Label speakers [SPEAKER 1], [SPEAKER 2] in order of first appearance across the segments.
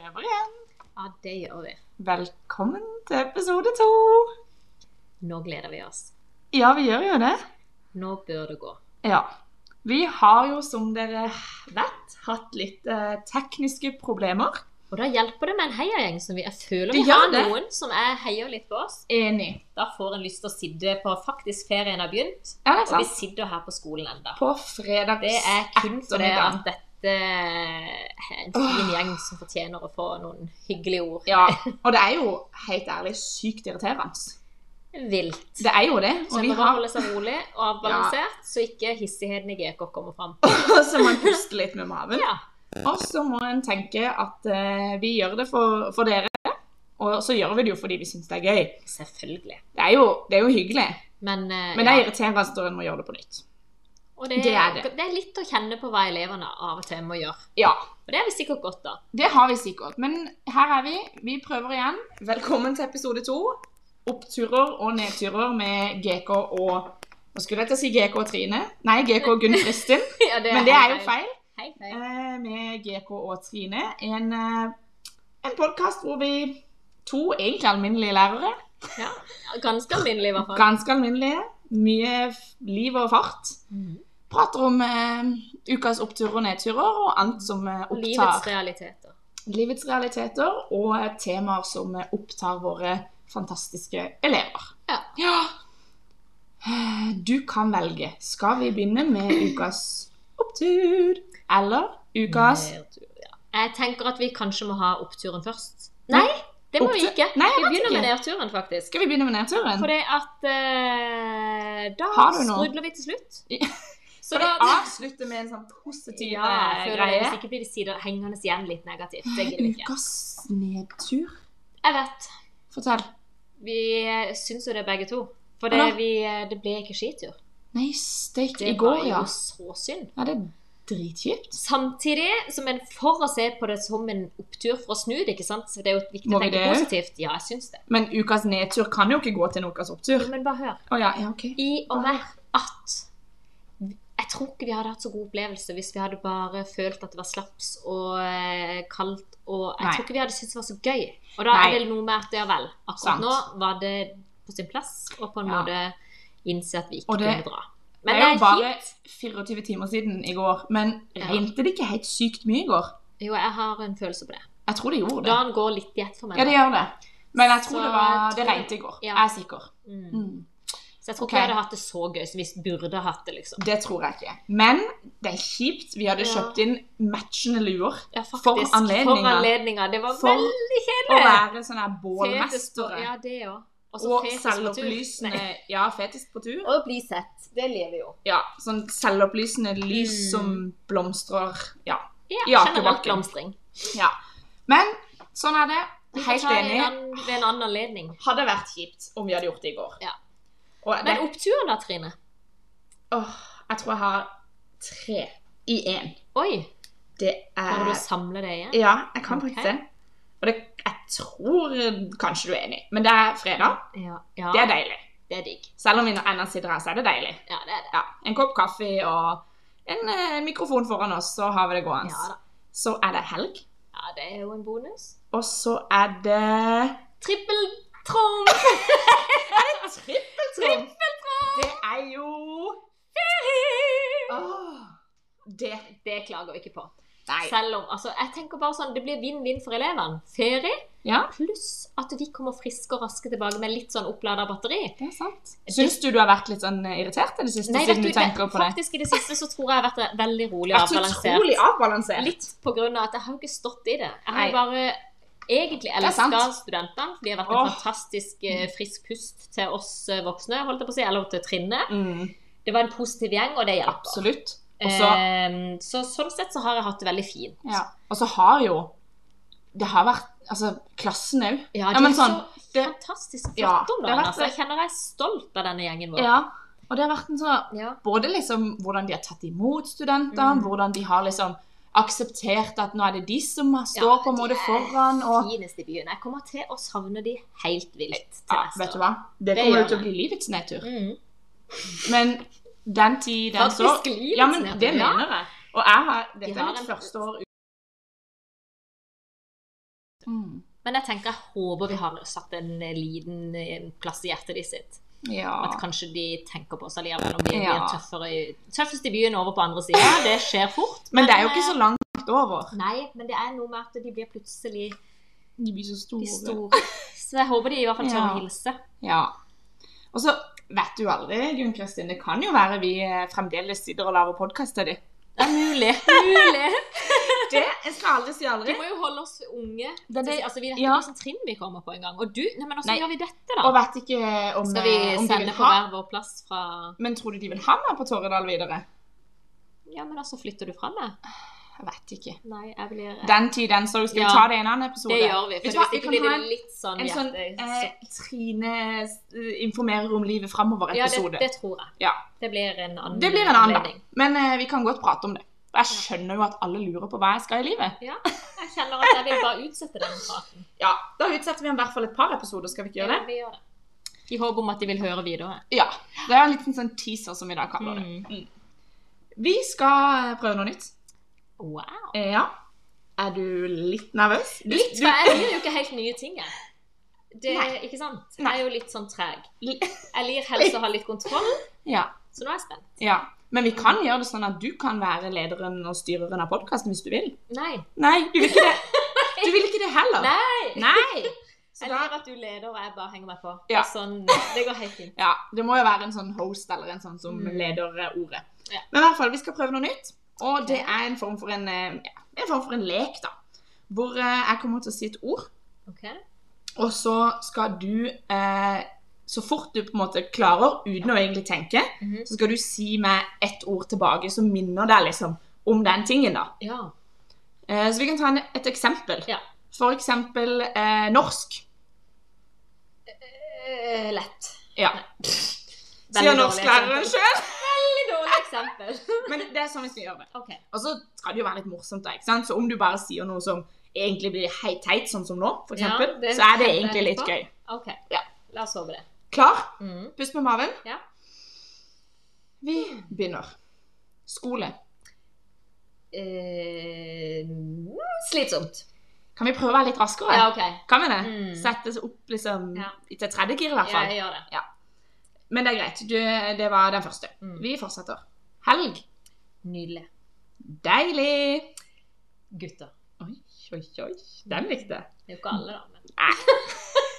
[SPEAKER 1] prøver igjen.
[SPEAKER 2] Ja, det gjør vi.
[SPEAKER 1] Velkommen til episode to.
[SPEAKER 2] Nå gleder vi oss.
[SPEAKER 1] Ja, vi gjør jo det.
[SPEAKER 2] Nå bør det gå.
[SPEAKER 1] Ja. Vi har jo, som dere vet, hatt litt eh, tekniske problemer.
[SPEAKER 2] Og da hjelper det med en heiagjeng som vi jeg føler
[SPEAKER 1] Det
[SPEAKER 2] vi
[SPEAKER 1] gjør
[SPEAKER 2] har
[SPEAKER 1] det.
[SPEAKER 2] noen som er heier litt på oss.
[SPEAKER 1] Enig.
[SPEAKER 2] Da får en lyst til å sitte på faktisk ferien har begynt,
[SPEAKER 1] Ja, det er
[SPEAKER 2] og vi
[SPEAKER 1] sant.
[SPEAKER 2] sitter her på skolen enda.
[SPEAKER 1] På fredags
[SPEAKER 2] Det er kun fordi
[SPEAKER 1] ettermiddag.
[SPEAKER 2] at dette er en fin gjeng som fortjener å få noen hyggelige ord.
[SPEAKER 1] Ja, og det er jo helt ærlig sykt irriterende.
[SPEAKER 2] Vilt.
[SPEAKER 1] Det er jo det.
[SPEAKER 2] Så
[SPEAKER 1] Og vi
[SPEAKER 2] vi må
[SPEAKER 1] har
[SPEAKER 2] holde seg rolig og avbalansert, så ikke hissigheten i GK kommer fram.
[SPEAKER 1] så man puster litt med maven.
[SPEAKER 2] Ja.
[SPEAKER 1] Og så må en tenke at eh, vi gjør det for, for dere, og så gjør vi det jo fordi vi syns det er gøy.
[SPEAKER 2] Selvfølgelig.
[SPEAKER 1] Det er jo, det er jo hyggelig,
[SPEAKER 2] Men, eh,
[SPEAKER 1] men det
[SPEAKER 2] ja.
[SPEAKER 1] er irriterende når en må gjøre det på nytt.
[SPEAKER 2] Og det,
[SPEAKER 1] Det er
[SPEAKER 2] er
[SPEAKER 1] det.
[SPEAKER 2] litt å kjenne på hva elevene av og til må gjøre.
[SPEAKER 1] Ja,
[SPEAKER 2] Og det er vi sikkert godt av.
[SPEAKER 1] det har vi sikkert. Men her er vi. Vi prøver igjen. Velkommen til episode to. Oppturer og nedturer med GK og Nå skulle jeg til å si GK og Trine. Nei, GK og Gunn Kristin.
[SPEAKER 2] Ja,
[SPEAKER 1] Men det er jo feil.
[SPEAKER 2] Hei, hei.
[SPEAKER 1] eh, med GK og Trine. En, eh, en podkast hvor vi to egentlig alminnelige lærere,
[SPEAKER 2] Ja. Ganske alminnelig, i hvert fall.
[SPEAKER 1] ganske alminnelige, mye f- liv og fart,
[SPEAKER 2] Mhm.
[SPEAKER 1] prater om eh, ukas oppturer og nedturer og annet som eh,
[SPEAKER 2] Og
[SPEAKER 1] opptar
[SPEAKER 2] Livets realiteter.
[SPEAKER 1] Mm. livets realiteter, og eh, temaer som eh, opptar våre fantastiske elever.
[SPEAKER 2] Ja.
[SPEAKER 1] Eh, Du kan velge. Skal vi begynne med ukas opptur eller ukas
[SPEAKER 2] Nedtur, Eh, ja. Jeg tenker at vi kanskje må ha oppturen først. Nei, det må vi
[SPEAKER 1] Opptur-
[SPEAKER 2] ikke.
[SPEAKER 1] Nei, jeg
[SPEAKER 2] Vi
[SPEAKER 1] vet
[SPEAKER 2] begynner
[SPEAKER 1] ikke.
[SPEAKER 2] med nedturen, faktisk.
[SPEAKER 1] Skal vi begynne med nedturen?
[SPEAKER 2] Fordi at eh, da
[SPEAKER 1] Har du noe?
[SPEAKER 2] sprudler vi til slutt.
[SPEAKER 1] Ja.
[SPEAKER 2] Så
[SPEAKER 1] Skal vi
[SPEAKER 2] da
[SPEAKER 1] avslutte med en sånn positiv
[SPEAKER 2] ja, jeg
[SPEAKER 1] eh,
[SPEAKER 2] føler det,
[SPEAKER 1] greie?
[SPEAKER 2] Hvis ikke blir det sider hengende igjen litt negativt. Det gidder vi ikke.
[SPEAKER 1] Ukas nedtur?
[SPEAKER 2] Jeg vet.
[SPEAKER 1] Fortell.
[SPEAKER 2] Vi eh, syns jo det begge to. For det,
[SPEAKER 1] Hvordan?
[SPEAKER 2] vi, eh, det ble ikke skitur.
[SPEAKER 1] Nei, steik.
[SPEAKER 2] Det
[SPEAKER 1] I går,
[SPEAKER 2] var jo
[SPEAKER 1] ja.
[SPEAKER 2] så synd.
[SPEAKER 1] Ja, det er dritkjipt.
[SPEAKER 2] Samtidig som en for å se på det som en opptur for å snu det, ikke sant? Så det er jo viktig
[SPEAKER 1] Må
[SPEAKER 2] å
[SPEAKER 1] vi
[SPEAKER 2] tenke
[SPEAKER 1] det?
[SPEAKER 2] positivt. Ja, jeg syns det.
[SPEAKER 1] Men ukas nedtur kan jo ikke gå til en ukas opptur.
[SPEAKER 2] Men bare hør.
[SPEAKER 1] Å ja, ja, ok.
[SPEAKER 2] I og med at jeg tror ikke vi hadde hatt så god opplevelse hvis vi hadde bare følt at det var slaps og eh, kaldt. Og jeg
[SPEAKER 1] Nei.
[SPEAKER 2] tror ikke vi hadde syntes det var så gøy. Og da
[SPEAKER 1] Nei.
[SPEAKER 2] er det noe med at ja vel, akkurat
[SPEAKER 1] Sant.
[SPEAKER 2] nå var det på sin plass og på en
[SPEAKER 1] Ja.
[SPEAKER 2] måte innse at vi
[SPEAKER 1] Og
[SPEAKER 2] ikke
[SPEAKER 1] det-
[SPEAKER 2] kunne dra.
[SPEAKER 1] Det
[SPEAKER 2] Men
[SPEAKER 1] er jo bare
[SPEAKER 2] fint.
[SPEAKER 1] 24 timer siden i går. Men
[SPEAKER 2] Ja.
[SPEAKER 1] regnet det ikke helt sykt mye i går?
[SPEAKER 2] Jo, jeg har en følelse på det.
[SPEAKER 1] Jeg tror det gjorde det.
[SPEAKER 2] Dagen går litt i ett for meg.
[SPEAKER 1] Ja, det gjør det. Men jeg tror
[SPEAKER 2] Så
[SPEAKER 1] det var
[SPEAKER 2] jeg
[SPEAKER 1] Det
[SPEAKER 2] tror-
[SPEAKER 1] regnet i går.
[SPEAKER 2] Ja.
[SPEAKER 1] Jeg er sikker.
[SPEAKER 2] Mm.
[SPEAKER 1] Mm.
[SPEAKER 2] Så jeg tror
[SPEAKER 1] Ok.
[SPEAKER 2] ikke jeg hadde hatt det så gøy som vi burde hatt det, liksom.
[SPEAKER 1] Det tror jeg ikke. Men det er kjipt. Vi hadde
[SPEAKER 2] Ja.
[SPEAKER 1] kjøpt inn matchende luer.
[SPEAKER 2] Ja, faktisk.
[SPEAKER 1] For anledninga.
[SPEAKER 2] For anledninga. Det var
[SPEAKER 1] For
[SPEAKER 2] veldig
[SPEAKER 1] Å
[SPEAKER 2] kjedelig.
[SPEAKER 1] være sånn her
[SPEAKER 2] Fetus på-
[SPEAKER 1] bålmestere.
[SPEAKER 2] Ja, altså det òg.
[SPEAKER 1] Og selvopplysende Ja, fetisk på tur.
[SPEAKER 2] Og bli sett. Det lever jo.
[SPEAKER 1] Ja, sånn selvopplysende lys
[SPEAKER 2] Mm.
[SPEAKER 1] som blomstrer. Ja.
[SPEAKER 2] Ja,
[SPEAKER 1] I akebakken.
[SPEAKER 2] generelt blomstring.
[SPEAKER 1] ja. Men sånn er det.
[SPEAKER 2] Vi får
[SPEAKER 1] Helt
[SPEAKER 2] ta det
[SPEAKER 1] enig.
[SPEAKER 2] en annen- Ved en annen anledning.
[SPEAKER 1] Hadde vært kjipt om vi hadde gjort det i går.
[SPEAKER 2] Ja.
[SPEAKER 1] Og det,
[SPEAKER 2] Men oppturen da, Trine?
[SPEAKER 1] åh, jeg tror jeg har tre i én.
[SPEAKER 2] Oi,
[SPEAKER 1] Det
[SPEAKER 2] klarer
[SPEAKER 1] er
[SPEAKER 2] du å samle det igjen?
[SPEAKER 1] Ja, jeg kan faktisk
[SPEAKER 2] Ok.
[SPEAKER 1] det. Og det, jeg tror kanskje du er enig, men det er fredag.
[SPEAKER 2] Ja. ja
[SPEAKER 1] Det er deilig.
[SPEAKER 2] det er digg.
[SPEAKER 1] Selv om vi ennå sitter her, så er det deilig.
[SPEAKER 2] Ja, det er det.
[SPEAKER 1] Ja, En kopp kaffe og en eh, mikrofon foran oss, så har vi det gående.
[SPEAKER 2] Ja da.
[SPEAKER 1] Så er det helg,
[SPEAKER 2] Ja, det er jo en bonus.
[SPEAKER 1] og så er det
[SPEAKER 2] Trippeltrom!
[SPEAKER 1] Trippeltrom! Det er jo Åh, Det
[SPEAKER 2] Det klager vi ikke på.
[SPEAKER 1] Nei.
[SPEAKER 2] Selv om, altså, jeg tenker bare sånn, Det blir vinn-vinn for elevene. Ferie
[SPEAKER 1] Ja.
[SPEAKER 2] pluss at de kommer friske og raske tilbake med litt sånn opplada batteri.
[SPEAKER 1] Det er sant. Syns du du har vært litt sånn irritert i det siste,
[SPEAKER 2] Nei, vet
[SPEAKER 1] siden
[SPEAKER 2] du,
[SPEAKER 1] du tenker
[SPEAKER 2] det,
[SPEAKER 1] på det?
[SPEAKER 2] faktisk I det siste så tror jeg jeg har vært veldig rolig og
[SPEAKER 1] Vært så
[SPEAKER 2] avbalansert.
[SPEAKER 1] utrolig avbalansert.
[SPEAKER 2] Litt på grunn av at jeg har jo ikke stått i det. Jeg har
[SPEAKER 1] Nei.
[SPEAKER 2] jo bare egentlig
[SPEAKER 1] er sant.
[SPEAKER 2] elska studentene. De har vært en
[SPEAKER 1] Åh.
[SPEAKER 2] fantastisk eh, frisk pust til oss eh, voksne, holdt jeg på å si, eller til Trinne.
[SPEAKER 1] Mm,
[SPEAKER 2] Det var en positiv gjeng, og det hjelper.
[SPEAKER 1] absolutt. Og så
[SPEAKER 2] Eh, så sånn sett så har jeg hatt det veldig fint.
[SPEAKER 1] ja. og så har jo Det har vært Altså, klassen òg.
[SPEAKER 2] Ja,
[SPEAKER 1] Ja,
[SPEAKER 2] de
[SPEAKER 1] men
[SPEAKER 2] er
[SPEAKER 1] sånn,
[SPEAKER 2] så
[SPEAKER 1] det-
[SPEAKER 2] fantastisk flotte
[SPEAKER 1] Ja,
[SPEAKER 2] om
[SPEAKER 1] det har
[SPEAKER 2] dagen.
[SPEAKER 1] vært
[SPEAKER 2] Altså.
[SPEAKER 1] det.
[SPEAKER 2] Jeg kjenner jeg er stolt av denne gjengen vår.
[SPEAKER 1] Ja. Og det har vært en sånn
[SPEAKER 2] Ja.
[SPEAKER 1] Både liksom hvordan de har tatt imot studenter,
[SPEAKER 2] Mm.
[SPEAKER 1] hvordan de har liksom akseptert at nå er det de som står
[SPEAKER 2] Ja,
[SPEAKER 1] på en
[SPEAKER 2] de
[SPEAKER 1] måte
[SPEAKER 2] er
[SPEAKER 1] foran, og
[SPEAKER 2] Finest i byen. Jeg kommer til å savne de helt vilt til
[SPEAKER 1] ja,
[SPEAKER 2] neste
[SPEAKER 1] ah, Vet du
[SPEAKER 2] år.
[SPEAKER 1] hva? Det
[SPEAKER 2] Det
[SPEAKER 1] kommer
[SPEAKER 2] gjør
[SPEAKER 1] jo til å
[SPEAKER 2] det.
[SPEAKER 1] bli livets nedtur.
[SPEAKER 2] Mm.
[SPEAKER 1] Men den tid, den så
[SPEAKER 2] Faktisk livets
[SPEAKER 1] Ja, men
[SPEAKER 2] nedtur,
[SPEAKER 1] det
[SPEAKER 2] ja.
[SPEAKER 1] mener jeg. Og jeg har, dette
[SPEAKER 2] har
[SPEAKER 1] er mitt
[SPEAKER 2] en-
[SPEAKER 1] første år Mm.
[SPEAKER 2] Men jeg tenker, jeg håper vi har satt en liten eh, plass i hjertet de sitt. At
[SPEAKER 1] Ja.
[SPEAKER 2] kanskje de tenker på oss allikevel om de blir
[SPEAKER 1] Ja.
[SPEAKER 2] tøffere i- tøffest i byen over på andre sida. Det skjer fort.
[SPEAKER 1] Men det er jo ikke
[SPEAKER 2] eh,
[SPEAKER 1] så langt over.
[SPEAKER 2] Nei, men det er noe med at de blir plutselig
[SPEAKER 1] De blir så
[SPEAKER 2] de
[SPEAKER 1] store.
[SPEAKER 2] store. Så jeg håper de i hvert fall tør å
[SPEAKER 1] Ja.
[SPEAKER 2] hilse.
[SPEAKER 1] Ja. Og så vet du aldri, Gunn Kristin, det kan jo være vi eh, fremdeles sitter og lager podkast til dem.
[SPEAKER 2] Det er mulig. mulig.
[SPEAKER 1] Det jeg skal aldri si
[SPEAKER 2] Vi
[SPEAKER 1] aldri.
[SPEAKER 2] må jo holde oss unge.
[SPEAKER 1] Det er det-
[SPEAKER 2] altså, vi vet ikke
[SPEAKER 1] ja.
[SPEAKER 2] hvilken trinn vi kommer på engang. Og du, nei, men
[SPEAKER 1] Nei.
[SPEAKER 2] hvordan gjør vi dette, da?
[SPEAKER 1] Og vet ikke om,
[SPEAKER 2] Skal vi
[SPEAKER 1] eh, om de vil
[SPEAKER 2] sende på
[SPEAKER 1] ha.
[SPEAKER 2] hver vår plass fra
[SPEAKER 1] Men tror du de vil ha meg på Torredal videre?
[SPEAKER 2] Ja, men altså, flytter du fra meg?
[SPEAKER 1] Jeg vet ikke.
[SPEAKER 2] Nei, jeg blir
[SPEAKER 1] Den tid, den sorg. Skal vi
[SPEAKER 2] Ja.
[SPEAKER 1] ta det i en annen episode?
[SPEAKER 2] Det gjør vi.
[SPEAKER 1] Vet
[SPEAKER 2] For
[SPEAKER 1] du hva,
[SPEAKER 2] hvis
[SPEAKER 1] jeg
[SPEAKER 2] ikke
[SPEAKER 1] kan
[SPEAKER 2] blir
[SPEAKER 1] ha
[SPEAKER 2] det
[SPEAKER 1] en-
[SPEAKER 2] litt sånn,
[SPEAKER 1] En sånn
[SPEAKER 2] hjerte-
[SPEAKER 1] eh, Trine eh, informerer om livet
[SPEAKER 2] Ja, det,
[SPEAKER 1] framover-episode.
[SPEAKER 2] det tror jeg.
[SPEAKER 1] Ja.
[SPEAKER 2] Det blir en annen
[SPEAKER 1] Det blir en annen dag.
[SPEAKER 2] anledning.
[SPEAKER 1] Men eh, vi kan godt prate om det. Jeg skjønner jo at alle lurer på hva jeg skal i livet.
[SPEAKER 2] Jeg kjenner at jeg vil bare utsette den praten.
[SPEAKER 1] Ja, Da utsetter vi i hvert fall et par episoder, skal vi ikke gjøre
[SPEAKER 2] Ja,
[SPEAKER 1] det?
[SPEAKER 2] vi gjør det. I håp om at de vil høre videre.
[SPEAKER 1] Ja. Det er en liten sånn teaser, som vi da kaller det.
[SPEAKER 2] Mm.
[SPEAKER 1] Vi skal eh, prøve noe nytt.
[SPEAKER 2] Wow.
[SPEAKER 1] Eh, Ja. Er du litt nervøs? Du-
[SPEAKER 2] Litt,
[SPEAKER 1] du-
[SPEAKER 2] for jeg lir jo ikke helt nye ting, jeg. Det,
[SPEAKER 1] Nei.
[SPEAKER 2] Ikke sant? Jeg
[SPEAKER 1] Nei.
[SPEAKER 2] er jo litt sånn treg.
[SPEAKER 1] Li-
[SPEAKER 2] Jeg lir helst å ha litt kontroll,
[SPEAKER 1] Ja.
[SPEAKER 2] så nå er jeg spent.
[SPEAKER 1] ja. Men vi kan gjøre det sånn at du kan være lederen og styreren av podkasten hvis du vil.
[SPEAKER 2] Nei.
[SPEAKER 1] Nei, du vil ikke det. Du vil ikke det heller.
[SPEAKER 2] Nei!
[SPEAKER 1] Nei. Så
[SPEAKER 2] Jeg
[SPEAKER 1] da,
[SPEAKER 2] ler at du leder, og jeg bare henger meg på.
[SPEAKER 1] Ja.
[SPEAKER 2] Og Sånn, det går helt fint.
[SPEAKER 1] ja, det må jo være en sånn host eller en sånn som
[SPEAKER 2] Mm.
[SPEAKER 1] leder eh, ordet.
[SPEAKER 2] Ja.
[SPEAKER 1] Men i hvert fall, vi skal prøve noe nytt. Og det
[SPEAKER 2] Ok.
[SPEAKER 1] er en form for en, eh, ja, en, form for en lek, da. Hvor eh, jeg kommer til å si et ord,
[SPEAKER 2] Ok?
[SPEAKER 1] og så skal du eh, Så fort du på en måte klarer, uten å egentlig tenke,
[SPEAKER 2] Mhm.
[SPEAKER 1] så skal du si meg ett ord tilbake som minner deg liksom om den tingen, da.
[SPEAKER 2] Ja.
[SPEAKER 1] Eh, så vi kan ta en, et eksempel.
[SPEAKER 2] Ja.
[SPEAKER 1] For eksempel eh, norsk.
[SPEAKER 2] Eh, Lett.
[SPEAKER 1] Ja.
[SPEAKER 2] Veldig
[SPEAKER 1] Sier norsklæreren
[SPEAKER 2] dårlig eksempel.
[SPEAKER 1] sjøl.
[SPEAKER 2] Veldig dårlig eksempel.
[SPEAKER 1] Men det er sånn vi skal gjøre det.
[SPEAKER 2] Ok.
[SPEAKER 1] Og så skal det jo være litt morsomt, da. ikke sant? Så om du bare sier noe som egentlig blir helt teit, sånn som nå, for
[SPEAKER 2] Ja,
[SPEAKER 1] eksempel,
[SPEAKER 2] det
[SPEAKER 1] så er det
[SPEAKER 2] kan jeg
[SPEAKER 1] egentlig litt
[SPEAKER 2] ta.
[SPEAKER 1] gøy.
[SPEAKER 2] Ok.
[SPEAKER 1] Ja.
[SPEAKER 2] La oss håpe det.
[SPEAKER 1] Klar?
[SPEAKER 2] Mm.
[SPEAKER 1] Pust med maven.
[SPEAKER 2] Ja.
[SPEAKER 1] Vi begynner. Skole.
[SPEAKER 2] Eh, mm, slitsomt.
[SPEAKER 1] Kan vi prøve å være litt raskere?
[SPEAKER 2] Ja, OK.
[SPEAKER 1] Kan vi det?
[SPEAKER 2] Mm.
[SPEAKER 1] Sette opp liksom
[SPEAKER 2] Ja.
[SPEAKER 1] til tredje gir, i hvert
[SPEAKER 2] Ja,
[SPEAKER 1] fall.
[SPEAKER 2] jeg gjør det.
[SPEAKER 1] Men det er greit. Du, det var den første.
[SPEAKER 2] Mm.
[SPEAKER 1] Vi fortsetter. Helg.
[SPEAKER 2] Nydelig.
[SPEAKER 1] Deilig.
[SPEAKER 2] Gutter.
[SPEAKER 1] Oi, oi, oi. Den likte jeg.
[SPEAKER 2] Det er jo ikke alle, da. Men...
[SPEAKER 1] Nei.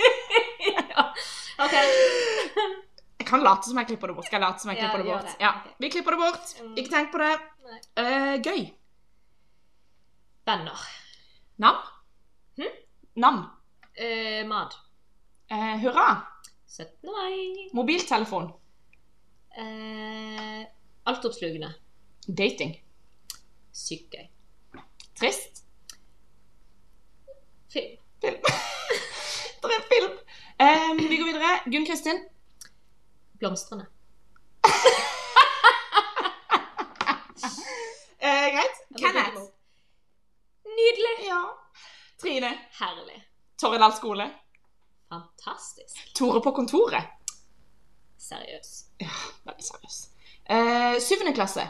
[SPEAKER 2] ja. OK.
[SPEAKER 1] Jeg kan late som jeg klipper det bort. Skal jeg late som jeg
[SPEAKER 2] Ja,
[SPEAKER 1] klipper det
[SPEAKER 2] gjør
[SPEAKER 1] bort?
[SPEAKER 2] det.
[SPEAKER 1] Ja,
[SPEAKER 2] Ok.
[SPEAKER 1] Vi klipper det bort.
[SPEAKER 2] Mm.
[SPEAKER 1] Ikke tenk på det.
[SPEAKER 2] Nei.
[SPEAKER 1] Eh, gøy.
[SPEAKER 2] Venner.
[SPEAKER 1] Nam.
[SPEAKER 2] Hm?
[SPEAKER 1] Nam.
[SPEAKER 2] Eh, mat.
[SPEAKER 1] Eh, hurra.
[SPEAKER 2] 17. mai.
[SPEAKER 1] Mobiltelefon.
[SPEAKER 2] Eh, Altoppslukende.
[SPEAKER 1] Dating.
[SPEAKER 2] Sykt gøy.
[SPEAKER 1] Trist.
[SPEAKER 2] Film.
[SPEAKER 1] Det er film. Eh, vi går videre. Gunn Kristin.
[SPEAKER 2] Blomstrende.
[SPEAKER 1] Eh, greit.
[SPEAKER 2] Jeg må
[SPEAKER 1] Kenneth.
[SPEAKER 2] bruke noe. Nydelig.
[SPEAKER 1] Ja. Trine.
[SPEAKER 2] Herlig.
[SPEAKER 1] Torredal skole.
[SPEAKER 2] Fantastisk.
[SPEAKER 1] Tore på kontoret.
[SPEAKER 2] Seriøs.
[SPEAKER 1] Veldig seriøs. Eh, syvende klasse.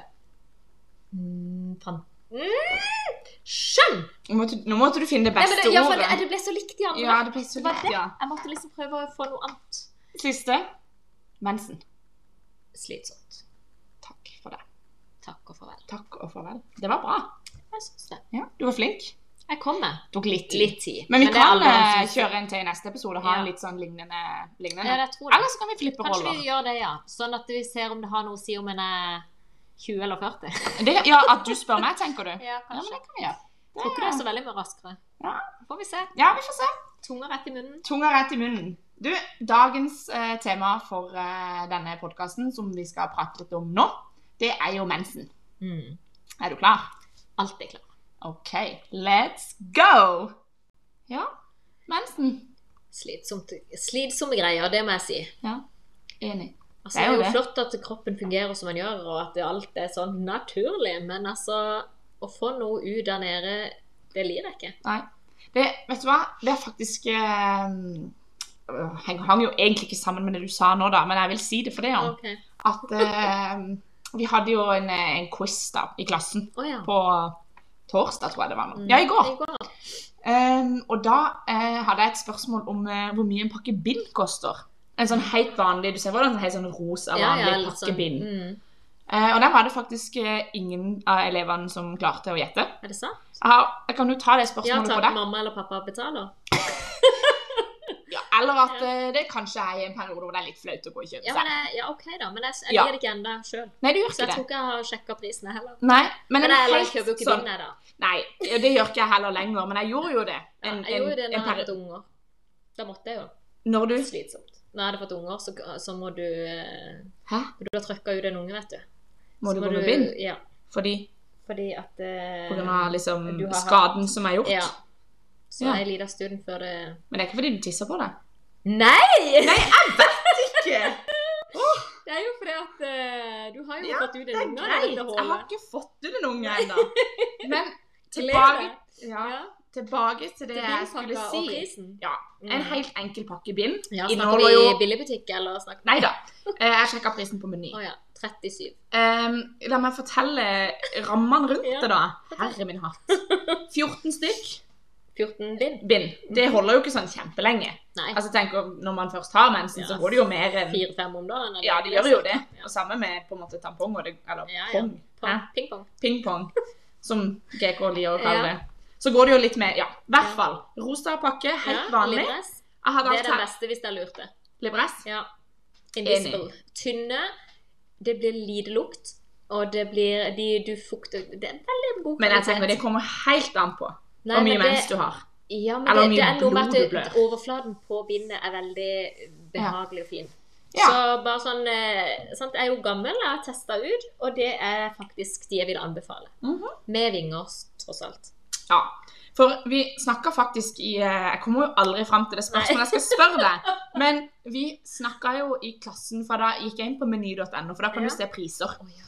[SPEAKER 2] Mm, fan... Mm, skjønn!
[SPEAKER 1] Nå måtte, nå måtte du finne det
[SPEAKER 2] Nei, men
[SPEAKER 1] beste
[SPEAKER 2] det, ja, for
[SPEAKER 1] ordet.
[SPEAKER 2] det, det ble så likt de andre.
[SPEAKER 1] Ja, det ble så
[SPEAKER 2] Det var
[SPEAKER 1] lett,
[SPEAKER 2] det.
[SPEAKER 1] ja.
[SPEAKER 2] Jeg måtte liksom prøve å få noe annet.
[SPEAKER 1] Siste. Mensen.
[SPEAKER 2] Slitsomt.
[SPEAKER 1] Takk for det.
[SPEAKER 2] Takk og farvel.
[SPEAKER 1] Takk og farvel. Det var bra.
[SPEAKER 2] Jeg syns det.
[SPEAKER 1] Ja, du var flink.
[SPEAKER 2] Jeg kommer.
[SPEAKER 1] Tok litt tid.
[SPEAKER 2] Litt tid.
[SPEAKER 1] Men vi
[SPEAKER 2] det er
[SPEAKER 1] kan
[SPEAKER 2] alle
[SPEAKER 1] eh,
[SPEAKER 2] som-
[SPEAKER 1] kjøre en til i neste episode og ha
[SPEAKER 2] Ja.
[SPEAKER 1] en litt sånn lignende.
[SPEAKER 2] Ja,
[SPEAKER 1] lignende.
[SPEAKER 2] jeg tror det.
[SPEAKER 1] Eller så kan vi flippe
[SPEAKER 2] Kanskje
[SPEAKER 1] roller.
[SPEAKER 2] vi gjør det, ja. Sånn at vi ser om det har noe å si om en er 20 eller 40.
[SPEAKER 1] Det, ja, At du spør meg, tenker du?
[SPEAKER 2] Ja,
[SPEAKER 1] Ja, men det kan vi gjøre.
[SPEAKER 2] Tror ikke det er så veldig mye raskere.
[SPEAKER 1] Ja.
[SPEAKER 2] Får vi se.
[SPEAKER 1] Ja, vi får se.
[SPEAKER 2] Tunga rett i munnen.
[SPEAKER 1] Tunga rett i munnen. Du, dagens eh, tema for eh, denne podkasten som vi skal prate litt om nå, det er jo mensen.
[SPEAKER 2] Mm.
[SPEAKER 1] Er du klar?
[SPEAKER 2] Alt er klart.
[SPEAKER 1] OK, let's go! Ja, mensen.
[SPEAKER 2] Slitsomt, slitsomme greier, det må jeg si.
[SPEAKER 1] Enig.
[SPEAKER 2] Altså,
[SPEAKER 1] Det er
[SPEAKER 2] det er
[SPEAKER 1] jo
[SPEAKER 2] jo
[SPEAKER 1] det.
[SPEAKER 2] flott at kroppen fungerer som den gjør, og at det alt er sånn naturlig, men altså Å få noe ut der nede, det liker jeg ikke.
[SPEAKER 1] Det, vet du hva? Det er faktisk eh, øh, Jeg hang jo egentlig ikke sammen med det du sa nå, da, men jeg vil si det for det. Jan.
[SPEAKER 2] Ok.
[SPEAKER 1] At eh, vi hadde jo en, eh, en quiz da, i klassen
[SPEAKER 2] Å ja.
[SPEAKER 1] på torsdag, tror jeg det var nå.
[SPEAKER 2] Mm.
[SPEAKER 1] Ja, i går.
[SPEAKER 2] I går.
[SPEAKER 1] Em, og da eh, hadde jeg et spørsmål om eh, hvor mye en pakke bind koster. En sånn helt vanlig, du ser hvordan en helt sånn rosa
[SPEAKER 2] Ja,
[SPEAKER 1] vanlig
[SPEAKER 2] ja, litt
[SPEAKER 1] pakke
[SPEAKER 2] sånn.
[SPEAKER 1] bind.
[SPEAKER 2] Mm.
[SPEAKER 1] Eh, og den var det faktisk eh, ingen av elevene som klarte å gjette.
[SPEAKER 2] Er det sant?
[SPEAKER 1] Jeg, har, jeg kan jo ta det
[SPEAKER 2] Ja,
[SPEAKER 1] spørsmålet på
[SPEAKER 2] takk
[SPEAKER 1] deg.
[SPEAKER 2] mamma eller pappa betaler.
[SPEAKER 1] Ja, eller at
[SPEAKER 2] Ja.
[SPEAKER 1] eh, det kanskje er i en periode hvor det er litt flaut å gå og kjøpe
[SPEAKER 2] Ja,
[SPEAKER 1] seg.
[SPEAKER 2] men jeg, ja OK, da. Men jeg, jeg
[SPEAKER 1] Ja.
[SPEAKER 2] liker det ikke ennå sjøl.
[SPEAKER 1] Nei, det gjør
[SPEAKER 2] Så
[SPEAKER 1] ikke
[SPEAKER 2] jeg tror
[SPEAKER 1] det.
[SPEAKER 2] ikke jeg har sjekka prisene heller.
[SPEAKER 1] Nei, men,
[SPEAKER 2] Men
[SPEAKER 1] en
[SPEAKER 2] jeg, eller, jeg
[SPEAKER 1] helt
[SPEAKER 2] kjøper jo ikke
[SPEAKER 1] sånn
[SPEAKER 2] bind, jeg, da.
[SPEAKER 1] Nei, det gjør ikke jeg heller lenger, men jeg gjorde jo det.
[SPEAKER 2] Ja,
[SPEAKER 1] En-
[SPEAKER 2] jeg gjorde
[SPEAKER 1] en-
[SPEAKER 2] jo det
[SPEAKER 1] en
[SPEAKER 2] da jeg
[SPEAKER 1] peri-
[SPEAKER 2] hadde unger. Da måtte jeg jo.
[SPEAKER 1] Når du
[SPEAKER 2] Slitsomt. Når jeg hadde fått unger, så, så må du eh,
[SPEAKER 1] Hæ?
[SPEAKER 2] Du har trøkka ut en unge, vet du.
[SPEAKER 1] Må
[SPEAKER 2] Så
[SPEAKER 1] du gå med bind?
[SPEAKER 2] Ja.
[SPEAKER 1] Fordi
[SPEAKER 2] Fordi at eh,
[SPEAKER 1] på grunn av liksom
[SPEAKER 2] du har hatt-
[SPEAKER 1] skaden som er gjort?
[SPEAKER 2] Ja. Så
[SPEAKER 1] Ja.
[SPEAKER 2] jeg er en liten stund før det
[SPEAKER 1] Men det er ikke fordi du tisser på det?
[SPEAKER 2] Nei!
[SPEAKER 1] Ikke!
[SPEAKER 2] Det er jo fordi at eh, du har jo
[SPEAKER 1] Ja,
[SPEAKER 2] fått ut
[SPEAKER 1] Det
[SPEAKER 2] en
[SPEAKER 1] er
[SPEAKER 2] unge av
[SPEAKER 1] greit.
[SPEAKER 2] dette
[SPEAKER 1] Jeg har
[SPEAKER 2] hullet.
[SPEAKER 1] ikke fått ut en unge ennå. Men
[SPEAKER 2] Gleder
[SPEAKER 1] tilbake,
[SPEAKER 2] deg.
[SPEAKER 1] ja,
[SPEAKER 2] Ja.
[SPEAKER 1] tilbake til det
[SPEAKER 2] Til
[SPEAKER 1] jeg skulle
[SPEAKER 2] bindpakka og
[SPEAKER 1] si.
[SPEAKER 2] Mm. prisen.
[SPEAKER 1] Ja, En helt enkel pakke bind.
[SPEAKER 2] Ja, snakker
[SPEAKER 1] Inneholder
[SPEAKER 2] vi
[SPEAKER 1] jo
[SPEAKER 2] billigbutikk, eller snakker
[SPEAKER 1] Nei da. Eh, Jeg sjekka prisen på Meny.
[SPEAKER 2] Å ja. 37.
[SPEAKER 1] Em, la meg fortelle rammene rundt
[SPEAKER 2] Ja,
[SPEAKER 1] det, da. Herre min hatt. 14 stykk
[SPEAKER 2] 14 bind?
[SPEAKER 1] bind. Det holder jo ikke sånn kjempelenge.
[SPEAKER 2] Nei.
[SPEAKER 1] Altså tenk om- Når man først har mensen, så
[SPEAKER 2] Ja.
[SPEAKER 1] går det jo mer enn
[SPEAKER 2] Fire-fem om dagen? eller?
[SPEAKER 1] Ja, det gjør jo det.
[SPEAKER 2] Ja.
[SPEAKER 1] Og samme med på en måte tampong og det, eller
[SPEAKER 2] Ja, ja.
[SPEAKER 1] pong. Hæ?
[SPEAKER 2] Pong, Ping-pong.
[SPEAKER 1] pingpong, som GK liker å kalle
[SPEAKER 2] Ja.
[SPEAKER 1] det. Så går det jo litt mer, ja. I hvert
[SPEAKER 2] Ja.
[SPEAKER 1] fall. Rosa pakke, helt
[SPEAKER 2] Ja,
[SPEAKER 1] vanlig.
[SPEAKER 2] Libress.
[SPEAKER 1] Jeg hadde
[SPEAKER 2] Det er
[SPEAKER 1] alt
[SPEAKER 2] den
[SPEAKER 1] her.
[SPEAKER 2] beste hvis jeg lurte.
[SPEAKER 1] Libress.
[SPEAKER 2] Ja. Invisible. Tynne. Det blir lite lukt. Og det blir de, Du fukter Det er veldig god
[SPEAKER 1] Men jeg tenker det kommer helt an på hvor
[SPEAKER 2] Nei, men
[SPEAKER 1] mye
[SPEAKER 2] det-
[SPEAKER 1] mens du har.
[SPEAKER 2] Ja, men
[SPEAKER 1] Eller
[SPEAKER 2] det,
[SPEAKER 1] mye
[SPEAKER 2] det er noe med
[SPEAKER 1] blod
[SPEAKER 2] at
[SPEAKER 1] du
[SPEAKER 2] det,
[SPEAKER 1] blør.
[SPEAKER 2] overflaten på bindet er veldig behagelig og fin.
[SPEAKER 1] Ja.
[SPEAKER 2] Så bare sånn eh, sant? Jeg er jo gammel, jeg har testa ut, og det er faktisk de jeg vil anbefale.
[SPEAKER 1] Mhm.
[SPEAKER 2] Med vinger, tross alt.
[SPEAKER 1] Ja. For vi snakka faktisk i eh, Jeg kommer jo aldri fram til det spørsmålet jeg skal spørre deg. Men vi snakka jo i klassen, for da gikk jeg inn på meny.no, for da kan
[SPEAKER 2] Ja.
[SPEAKER 1] du se priser.
[SPEAKER 2] Å ja.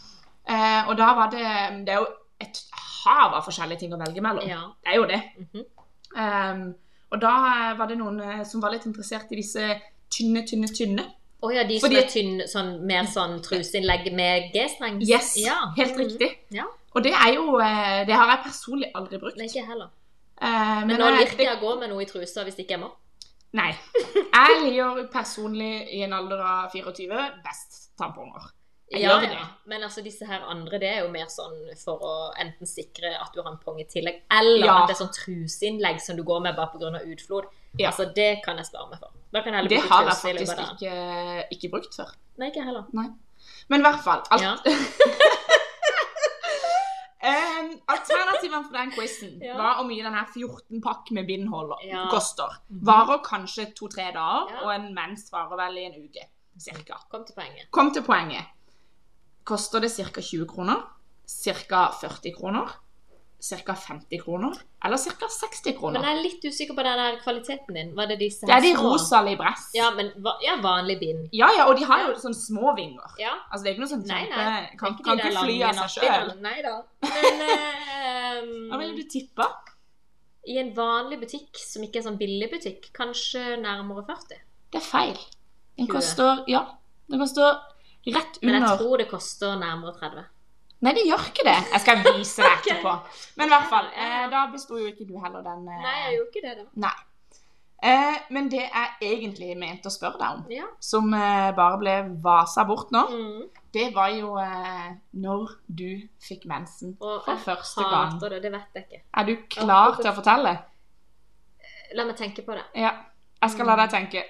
[SPEAKER 1] Eh, og da var det Det er jo et hav av forskjellige ting å velge mellom.
[SPEAKER 2] ja.
[SPEAKER 1] Det er jo det.
[SPEAKER 2] mhm.
[SPEAKER 1] Ehm, og da eh, var det noen eh, som var litt interessert i disse tynne, tynne, tynne.
[SPEAKER 2] Å ja,
[SPEAKER 1] Fordi-
[SPEAKER 2] de som er tynne, sånn, mer sånn truseinnlegg med G-streng?
[SPEAKER 1] Yes,
[SPEAKER 2] Ja.
[SPEAKER 1] helt
[SPEAKER 2] Mhm.
[SPEAKER 1] riktig.
[SPEAKER 2] Ja.
[SPEAKER 1] Og det er jo eh, Det har jeg personlig aldri brukt.
[SPEAKER 2] Nei, ikke heller.
[SPEAKER 1] Eh,
[SPEAKER 2] Men, nå
[SPEAKER 1] jeg-
[SPEAKER 2] liker jeg å gå med noe i trusa hvis ikke jeg må.
[SPEAKER 1] Nei. Jeg liker personlig i en alder av 24 best tamponger. Jeg
[SPEAKER 2] Ja,
[SPEAKER 1] gjør det.
[SPEAKER 2] ja. Men altså, disse her andre det er jo mer sånn for å enten sikre at du har en pong i tillegg, eller
[SPEAKER 1] Ja.
[SPEAKER 2] at det er sånn truseinnlegg som du går med bare pga. utflod.
[SPEAKER 1] Ja.
[SPEAKER 2] Altså, det kan jeg spare meg for. Da kan jeg heller
[SPEAKER 1] Det
[SPEAKER 2] bruke
[SPEAKER 1] har jeg
[SPEAKER 2] truse i løpet
[SPEAKER 1] faktisk
[SPEAKER 2] av dagen.
[SPEAKER 1] ikke, ikke brukt før.
[SPEAKER 2] Nei, ikke jeg heller.
[SPEAKER 1] Men i hvert fall alt,
[SPEAKER 2] Ja.
[SPEAKER 1] ehm, Alternativene for den quizen
[SPEAKER 2] Ja.
[SPEAKER 1] var hvor mye denne 14-pakk med bind holder-
[SPEAKER 2] Ja. Mhm.
[SPEAKER 1] koster. Varer kanskje to-tre dager,
[SPEAKER 2] Ja.
[SPEAKER 1] og en mens varer vel i en uke. Cirka.
[SPEAKER 2] Kom til poenget.
[SPEAKER 1] Kom til poenget. Koster det ca. 20 kroner? Ca. 40 kroner? Ca. 50 kroner? Eller ca. 60
[SPEAKER 2] Men
[SPEAKER 1] kroner?
[SPEAKER 2] jeg er litt usikker på den der kvaliteten din. Var det disse
[SPEAKER 1] Det
[SPEAKER 2] her
[SPEAKER 1] er de
[SPEAKER 2] små?
[SPEAKER 1] rosa libress.
[SPEAKER 2] Ja, men va- ja, vanlig bind.
[SPEAKER 1] ja, ja, og de har jo sånne små vinger.
[SPEAKER 2] Ja.
[SPEAKER 1] Altså, det er ikke noe sånn
[SPEAKER 2] Nei,
[SPEAKER 1] kjempe...
[SPEAKER 2] nei.
[SPEAKER 1] Kan kan ikke fly av seg sjøl.
[SPEAKER 2] Nei da. Men eh, ehm,
[SPEAKER 1] Hva ville du tippa?
[SPEAKER 2] I en vanlig butikk, som ikke er sånn billig butikk, kanskje nærmere 40.
[SPEAKER 1] Det er feil. Den
[SPEAKER 2] 20.
[SPEAKER 1] koster Ja, den koster rett
[SPEAKER 2] Men jeg
[SPEAKER 1] under
[SPEAKER 2] tror det koster nærmere 30.
[SPEAKER 1] Nei, det gjør ikke det. Jeg skal vise deg
[SPEAKER 2] Ok.
[SPEAKER 1] etterpå. Men i hvert fall,
[SPEAKER 2] Ja, ja,
[SPEAKER 1] eh,
[SPEAKER 2] ja.
[SPEAKER 1] da besto jo ikke du heller den eh,
[SPEAKER 2] Nei, jeg gjorde ikke det, da.
[SPEAKER 1] Nei. Eh, men det jeg egentlig mente å spørre deg om,
[SPEAKER 2] Ja.
[SPEAKER 1] som eh, bare ble vasa bort nå,
[SPEAKER 2] Mm.
[SPEAKER 1] det var jo eh, når du fikk mensen
[SPEAKER 2] Og
[SPEAKER 1] for
[SPEAKER 2] jeg
[SPEAKER 1] første gang.
[SPEAKER 2] Mm. hater det. Det vet jeg ikke.
[SPEAKER 1] Er du klar til å fortelle?
[SPEAKER 2] La meg tenke på det.
[SPEAKER 1] Ja. Jeg skal la
[SPEAKER 2] Mm.
[SPEAKER 1] deg tenke.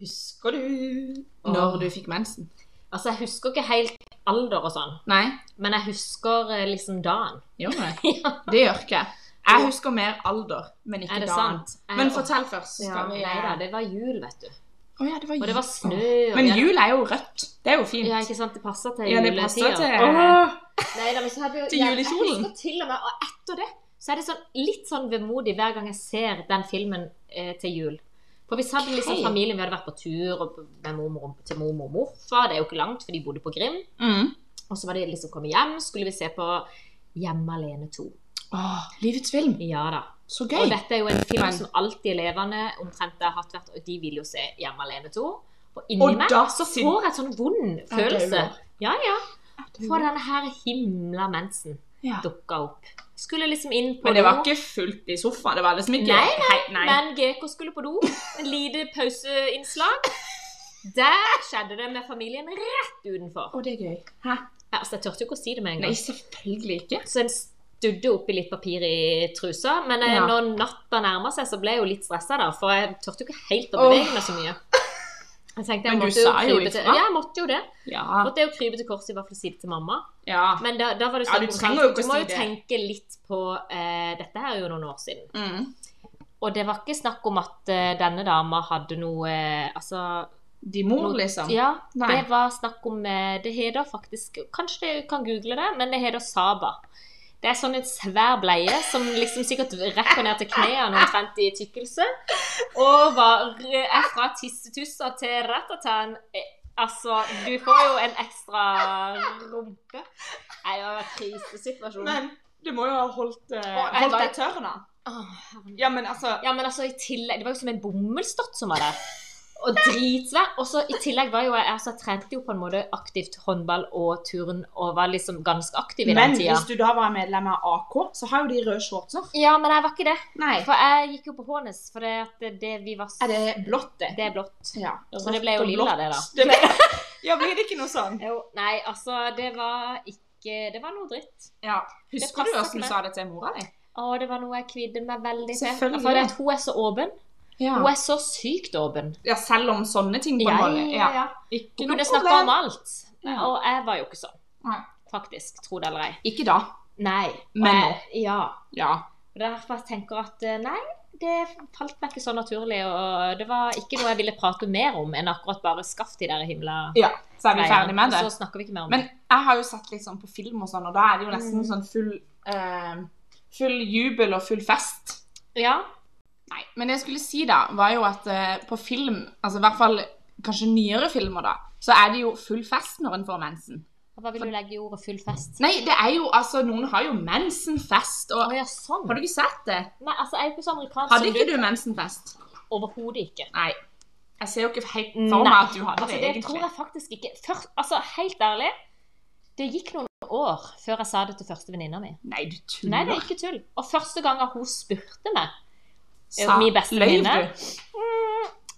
[SPEAKER 1] Husker du når du fikk mensen?
[SPEAKER 2] Altså, jeg husker ikke helt alder og sånn,
[SPEAKER 1] Nei,
[SPEAKER 2] men jeg husker eh, liksom dagen.
[SPEAKER 1] gjør det. Det gjør ikke jeg. Jeg husker mer alder, men ikke
[SPEAKER 2] Er det
[SPEAKER 1] dagen.
[SPEAKER 2] sant? Jeg-
[SPEAKER 1] Men fortell først. så
[SPEAKER 2] ja,
[SPEAKER 1] Skal vi
[SPEAKER 2] Nei da, det var jul, vet du.
[SPEAKER 1] Å ja, det var
[SPEAKER 2] Og det var
[SPEAKER 1] jul.
[SPEAKER 2] snø. Og
[SPEAKER 1] Men
[SPEAKER 2] vi hadde-
[SPEAKER 1] jul er jo rødt. Det er jo fint.
[SPEAKER 2] Ja, ikke sant? Det passer til
[SPEAKER 1] Ja, det
[SPEAKER 2] juletida.
[SPEAKER 1] passer til
[SPEAKER 2] Åh! Nei, da, men så hadde jo,
[SPEAKER 1] Til
[SPEAKER 2] ja,
[SPEAKER 1] julekjolen.
[SPEAKER 2] Jeg husker til og med, og etter det, så er det sånn, litt sånn vemodig hver gang jeg ser den filmen eh, til jul. For vi hadde liksom
[SPEAKER 1] Ok.
[SPEAKER 2] familien, vi hadde vært på tur og på- med mormor, og- til mormor og morfar, det er jo ikke langt, for de bodde på Grim.
[SPEAKER 1] Mm.
[SPEAKER 2] Og så var det liksom kommet hjem, skulle vi se på Hjemme alene 2.
[SPEAKER 1] Åh, livets film.
[SPEAKER 2] Ja da.
[SPEAKER 1] Så
[SPEAKER 2] Og
[SPEAKER 1] gøy.
[SPEAKER 2] dette er jo en film
[SPEAKER 1] Men-
[SPEAKER 2] som alltid elevene omtrent har hatt vært, og de vil jo se Hjemme alene 2. Og inni
[SPEAKER 1] Og
[SPEAKER 2] meg
[SPEAKER 1] da
[SPEAKER 2] så
[SPEAKER 1] syn-
[SPEAKER 2] får jeg et sånn vond
[SPEAKER 1] Jeg
[SPEAKER 2] følelse.
[SPEAKER 1] dauer.
[SPEAKER 2] Ja, ja.
[SPEAKER 1] Jeg dauer.
[SPEAKER 2] For denne her himla mensen
[SPEAKER 1] Ja.
[SPEAKER 2] dukka opp. skulle liksom inn på
[SPEAKER 1] Men det var
[SPEAKER 2] do.
[SPEAKER 1] ikke fullt i sofaen. Det var liksom ikke
[SPEAKER 2] Nei,
[SPEAKER 1] Hei, nei.
[SPEAKER 2] Men GK skulle på do. En lite pauseinnslag. Der skjedde det med familien rett utenfor.
[SPEAKER 1] Å, det er gøy. Hæ?
[SPEAKER 2] Ja, Altså, jeg turte jo ikke å si det med en
[SPEAKER 1] Nei,
[SPEAKER 2] gang.
[SPEAKER 1] selvfølgelig ikke.
[SPEAKER 2] Så en studde oppi litt papir i trusa. Men eh,
[SPEAKER 1] Ja.
[SPEAKER 2] når natta nærma seg, så ble jeg jo litt stressa, da. For jeg turte jo ikke helt å
[SPEAKER 1] Åh.
[SPEAKER 2] bevege meg så mye. Jeg tenkte, jeg
[SPEAKER 1] Men du
[SPEAKER 2] måtte jo
[SPEAKER 1] sa jo
[SPEAKER 2] krype til
[SPEAKER 1] ifra.
[SPEAKER 2] Ja, jeg måtte jo det.
[SPEAKER 1] Ja.
[SPEAKER 2] Måtte jeg jo krype til korset i hvert fall si det til mamma.
[SPEAKER 1] ja.
[SPEAKER 2] Men da, da var det
[SPEAKER 1] Ja, du
[SPEAKER 2] konstant.
[SPEAKER 1] trenger jo ikke
[SPEAKER 2] Du må
[SPEAKER 1] si
[SPEAKER 2] jo
[SPEAKER 1] det.
[SPEAKER 2] tenke litt på eh, Dette her er jo noen år siden.
[SPEAKER 1] Mm.
[SPEAKER 2] Og det var ikke snakk om at eh, denne dama hadde noe eh, Altså
[SPEAKER 1] De mor, liksom.
[SPEAKER 2] Ja,
[SPEAKER 1] Nei.
[SPEAKER 2] det var snakk om eh, Det heter faktisk Kanskje du kan google det, men det heter Saba. Det er sånn en svær bleie som liksom sikkert rekker ned til knærne omtrent i tykkelse. Og var er fra tissetusser til ratatan. Altså, du får jo en ekstra rumpe. Nei, det var en krisesituasjon.
[SPEAKER 1] Men du må jo ha holdt, eh,
[SPEAKER 2] Å, jeg
[SPEAKER 1] holdt
[SPEAKER 2] var-
[SPEAKER 1] deg tørr, da.
[SPEAKER 2] Åh, herregud.
[SPEAKER 1] Ja, men altså
[SPEAKER 2] Ja, men altså, i tillegg, det var jo som en bomullsdott som var der. Og dritsvær. Og så i tillegg var jo jeg altså, jeg trente jo på en måte aktivt håndball og turn og var liksom ganske aktiv i
[SPEAKER 1] Men
[SPEAKER 2] den tida.
[SPEAKER 1] hvis du da var medlem av AK, så har jo de røde shortser.
[SPEAKER 2] Ja, men jeg var ikke det.
[SPEAKER 1] Nei.
[SPEAKER 2] For jeg gikk jo på Hånes, for det at det vi var s-
[SPEAKER 1] Er det blått, det?
[SPEAKER 2] Det er blått.
[SPEAKER 1] Ja.
[SPEAKER 2] Så det ble jo
[SPEAKER 1] Rødt og
[SPEAKER 2] lilla,
[SPEAKER 1] blått.
[SPEAKER 2] det da.
[SPEAKER 1] det ble... Ja, blir det ikke noe sånn?
[SPEAKER 2] Jo, nei, altså, det var ikke Det var noe dritt.
[SPEAKER 1] Ja. Husker
[SPEAKER 2] passer
[SPEAKER 1] du hvordan
[SPEAKER 2] ikke
[SPEAKER 1] du sa det til mora di?
[SPEAKER 2] Å, det var noe jeg kvidde meg veldig til.
[SPEAKER 1] Selvfølgelig.
[SPEAKER 2] For det at hun er så åpen.
[SPEAKER 1] Ja.
[SPEAKER 2] Hun er så sykt åpen.
[SPEAKER 1] ja, selv om sånne ting på en måte. Ja.
[SPEAKER 2] ja.
[SPEAKER 1] Ikke
[SPEAKER 2] Hun
[SPEAKER 1] noe
[SPEAKER 2] kunne snakke
[SPEAKER 1] problem.
[SPEAKER 2] om alt.
[SPEAKER 1] Ja.
[SPEAKER 2] Og jeg var jo ikke sånn.
[SPEAKER 1] Nei.
[SPEAKER 2] Faktisk. Tro det eller ei.
[SPEAKER 1] Ikke da.
[SPEAKER 2] Nei. og
[SPEAKER 1] Men
[SPEAKER 2] jeg- Ja.
[SPEAKER 1] Ja.
[SPEAKER 2] Og derfor tenker jeg at eh, nei, det falt meg ikke så naturlig. Og det var ikke noe jeg ville prate mer om enn akkurat bare skaff de der himla
[SPEAKER 1] Så er vi
[SPEAKER 2] greiene.
[SPEAKER 1] ferdig med det.
[SPEAKER 2] Og Så snakker vi ikke mer om
[SPEAKER 1] Men
[SPEAKER 2] det.
[SPEAKER 1] jeg har jo sett litt sånn på film og sånn, og da er det jo nesten
[SPEAKER 2] Mm.
[SPEAKER 1] sånn full eh, Full jubel og full fest.
[SPEAKER 2] Ja.
[SPEAKER 1] Nei, men det jeg skulle si da, var jo at eh, på film, altså i hvert fall kanskje nyere filmer da, så er det jo full fest når en får mensen.
[SPEAKER 2] Og Hva vil du legge i ordet full fest?
[SPEAKER 1] Nei, det er jo, altså, noen har jo mensenfest,
[SPEAKER 2] Å
[SPEAKER 1] og
[SPEAKER 2] ja, sånn.
[SPEAKER 1] har du ikke sett det?
[SPEAKER 2] Nei, altså, jeg er jo ikke så amerikansk
[SPEAKER 1] Hadde
[SPEAKER 2] som
[SPEAKER 1] ikke du mensenfest?
[SPEAKER 2] Overhodet ikke.
[SPEAKER 1] Nei, jeg ser jo ikke helt
[SPEAKER 2] Nei.
[SPEAKER 1] for meg Sånn at du hadde
[SPEAKER 2] Altså,
[SPEAKER 1] det,
[SPEAKER 2] det tror
[SPEAKER 1] egentlig.
[SPEAKER 2] jeg faktisk ikke. Først, altså, helt ærlig, det gikk noen år før jeg sa det til første venninna mi.
[SPEAKER 1] Nei, du
[SPEAKER 2] Nei, det
[SPEAKER 1] tuller.
[SPEAKER 2] er ikke tull. Og første gangen hun spurte meg
[SPEAKER 1] Sa-
[SPEAKER 2] Ja, min beste
[SPEAKER 1] Løy
[SPEAKER 2] venninne.
[SPEAKER 1] du?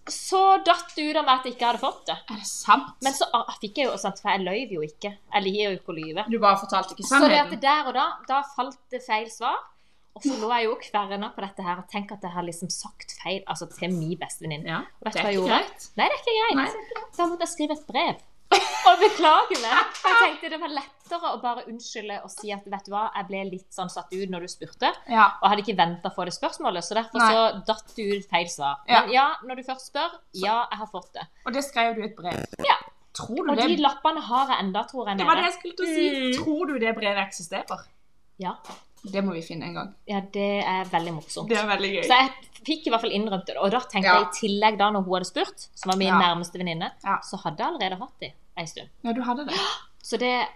[SPEAKER 2] så datt det ut av meg at jeg ikke hadde fått det.
[SPEAKER 1] Er det sant?
[SPEAKER 2] Men så ah, fikk jeg jo sant, For jeg løy jo ikke. Jeg liker jo ikke å lyve.
[SPEAKER 1] Du bare fortalte ikke
[SPEAKER 2] Så det at
[SPEAKER 1] sannheten.
[SPEAKER 2] det der og da, da falt det feil svar. Og så lå jeg jo og kverna på dette her og tenkte at jeg har liksom sagt feil altså til min bestevenninne.
[SPEAKER 1] Ja,
[SPEAKER 2] Vet
[SPEAKER 1] det
[SPEAKER 2] du hva
[SPEAKER 1] er
[SPEAKER 2] jeg
[SPEAKER 1] ikke
[SPEAKER 2] gjorde?
[SPEAKER 1] greit.
[SPEAKER 2] Nei, det er ikke greit.
[SPEAKER 1] Nei,
[SPEAKER 2] Da måtte jeg skrive et brev og beklage meg. For jeg tenkte det var lettere å bare unnskylde og si at vet du hva, jeg ble litt sånn satt ut når du spurte.
[SPEAKER 1] Ja,
[SPEAKER 2] Og hadde ikke venta for det spørsmålet, så derfor
[SPEAKER 1] Nei.
[SPEAKER 2] så datt det ut feil svar.
[SPEAKER 1] Ja.
[SPEAKER 2] Men ja, når du først spør, ja, jeg har fått det.
[SPEAKER 1] og det skrev du i et brev.
[SPEAKER 2] Ja.
[SPEAKER 1] Tror du
[SPEAKER 2] Og
[SPEAKER 1] det?
[SPEAKER 2] de lappene har jeg enda, tror jeg.
[SPEAKER 1] Det
[SPEAKER 2] nede.
[SPEAKER 1] var det jeg skulle til å si.
[SPEAKER 2] Mm.
[SPEAKER 1] Tror du det brevet eksisterer?
[SPEAKER 2] Ja.
[SPEAKER 1] Det må vi finne en gang.
[SPEAKER 2] Ja, det er veldig morsomt.
[SPEAKER 1] Det er veldig gøy.
[SPEAKER 2] Så jeg fikk i hvert fall innrømt det. Og da tenkte
[SPEAKER 1] Ja.
[SPEAKER 2] jeg i tillegg da, når hun hadde spurt, som var min
[SPEAKER 1] Ja.
[SPEAKER 2] nærmeste venninne,
[SPEAKER 1] Ja.
[SPEAKER 2] så hadde jeg allerede hatt det en stund.
[SPEAKER 1] Ja, du hadde det.
[SPEAKER 2] Så det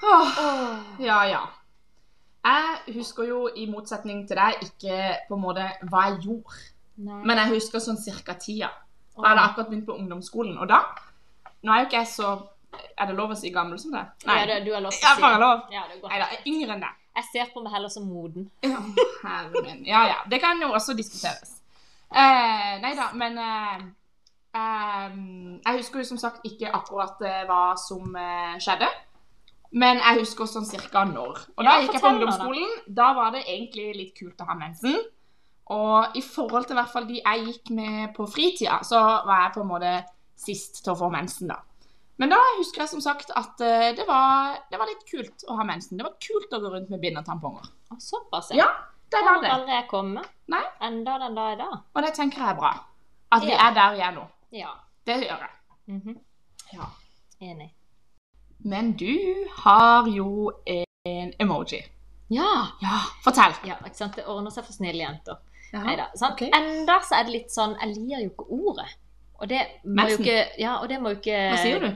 [SPEAKER 1] Åh,
[SPEAKER 2] Åh.
[SPEAKER 1] ja, ja. Jeg husker jo, i motsetning til deg, ikke på en måte hva jeg gjorde.
[SPEAKER 2] Nei.
[SPEAKER 1] Men jeg husker sånn cirka tida. Da
[SPEAKER 2] Åh.
[SPEAKER 1] hadde jeg akkurat begynt på ungdomsskolen. Og da Nå er jo ikke jeg så Er det lov å si gammel som det?
[SPEAKER 2] Ja, det, du har lov til
[SPEAKER 1] Jeg
[SPEAKER 2] å
[SPEAKER 1] har
[SPEAKER 2] si det.
[SPEAKER 1] bare lov.
[SPEAKER 2] Ja, det er
[SPEAKER 1] Nei
[SPEAKER 2] godt.
[SPEAKER 1] da, jeg er yngre enn deg.
[SPEAKER 2] Jeg ser på meg heller som moden.
[SPEAKER 1] Ja, herre min. Ja, ja. Det kan jo også diskuteres. Eh, nei da, men eh, eh, Jeg husker jo som sagt ikke akkurat eh, hva som eh, skjedde. Men jeg husker sånn cirka når. Og da
[SPEAKER 2] Ja,
[SPEAKER 1] gikk jeg på
[SPEAKER 2] fortell nå, da.
[SPEAKER 1] ungdomsskolen. Da var det egentlig litt kult å ha mensen. Og i forhold til i hvert fall de jeg gikk med på fritida, så var jeg på en måte sist til å få mensen, da. Men da husker jeg som sagt at eh, det var, det var litt kult å ha mensen. Det var kult å gå rundt med bind og tamponger.
[SPEAKER 2] Å, Såpass,
[SPEAKER 1] Ja, Det
[SPEAKER 2] Det
[SPEAKER 1] var
[SPEAKER 2] har
[SPEAKER 1] det.
[SPEAKER 2] aldri jeg kommet.
[SPEAKER 1] Nei.
[SPEAKER 2] Enda den dag i dag.
[SPEAKER 1] Og det tenker jeg er bra. At vi
[SPEAKER 2] Ja.
[SPEAKER 1] er der vi er nå.
[SPEAKER 2] Ja.
[SPEAKER 1] Det gjør jeg.
[SPEAKER 2] Mhm.
[SPEAKER 1] Ja.
[SPEAKER 2] Enig.
[SPEAKER 1] Men du har jo en emoji.
[SPEAKER 2] Ja.
[SPEAKER 1] Ja, fortell.
[SPEAKER 2] ja! Ikke sant. Det ordner seg for snille jenter.
[SPEAKER 1] Ja.
[SPEAKER 2] Neida, sant?
[SPEAKER 1] ok.
[SPEAKER 2] Enda så er det litt sånn Jeg liker jo ikke ordet. Og det må jo
[SPEAKER 1] Mensen.
[SPEAKER 2] ikke Ja, og det må jo ikke
[SPEAKER 1] Hva sier du?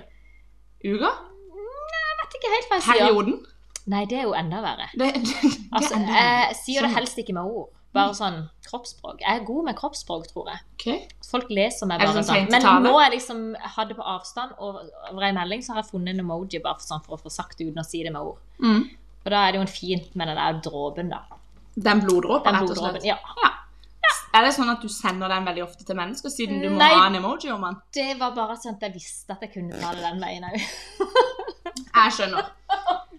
[SPEAKER 1] Uga?
[SPEAKER 2] Jeg vet ikke helt hva jeg sier.
[SPEAKER 1] Perioden?
[SPEAKER 2] Nei, det er jo enda verre.
[SPEAKER 1] Det, det, det
[SPEAKER 2] Altså,
[SPEAKER 1] er Sånn. den.
[SPEAKER 2] jeg sier det helst ikke med ord. Bare sånn kroppsspråk. Jeg er god med kroppsspråk, tror jeg.
[SPEAKER 1] Ok.
[SPEAKER 2] Folk leser meg
[SPEAKER 1] Er det
[SPEAKER 2] bare
[SPEAKER 1] sånn
[SPEAKER 2] sånn.
[SPEAKER 1] tegn
[SPEAKER 2] Men
[SPEAKER 1] til tale?
[SPEAKER 2] nå er jeg liksom jeg hadde på avstand og over ei melding, så har jeg funnet en emoji bare for, sånn, for å få sagt det uten å si det med ord.
[SPEAKER 1] Mm.
[SPEAKER 2] Og da er det jo en fint med den der dråpen, da.
[SPEAKER 1] Den bloddråpen,
[SPEAKER 2] Den
[SPEAKER 1] rett og slett.
[SPEAKER 2] bloddråpen. Ja.
[SPEAKER 1] Er det sånn at du sender den veldig ofte til mennesker, siden du må
[SPEAKER 2] Nei.
[SPEAKER 1] ha en emoji om den?
[SPEAKER 2] Det var bare sånn at jeg visste at jeg kunne ta det den veien òg.
[SPEAKER 1] Jeg skjønner.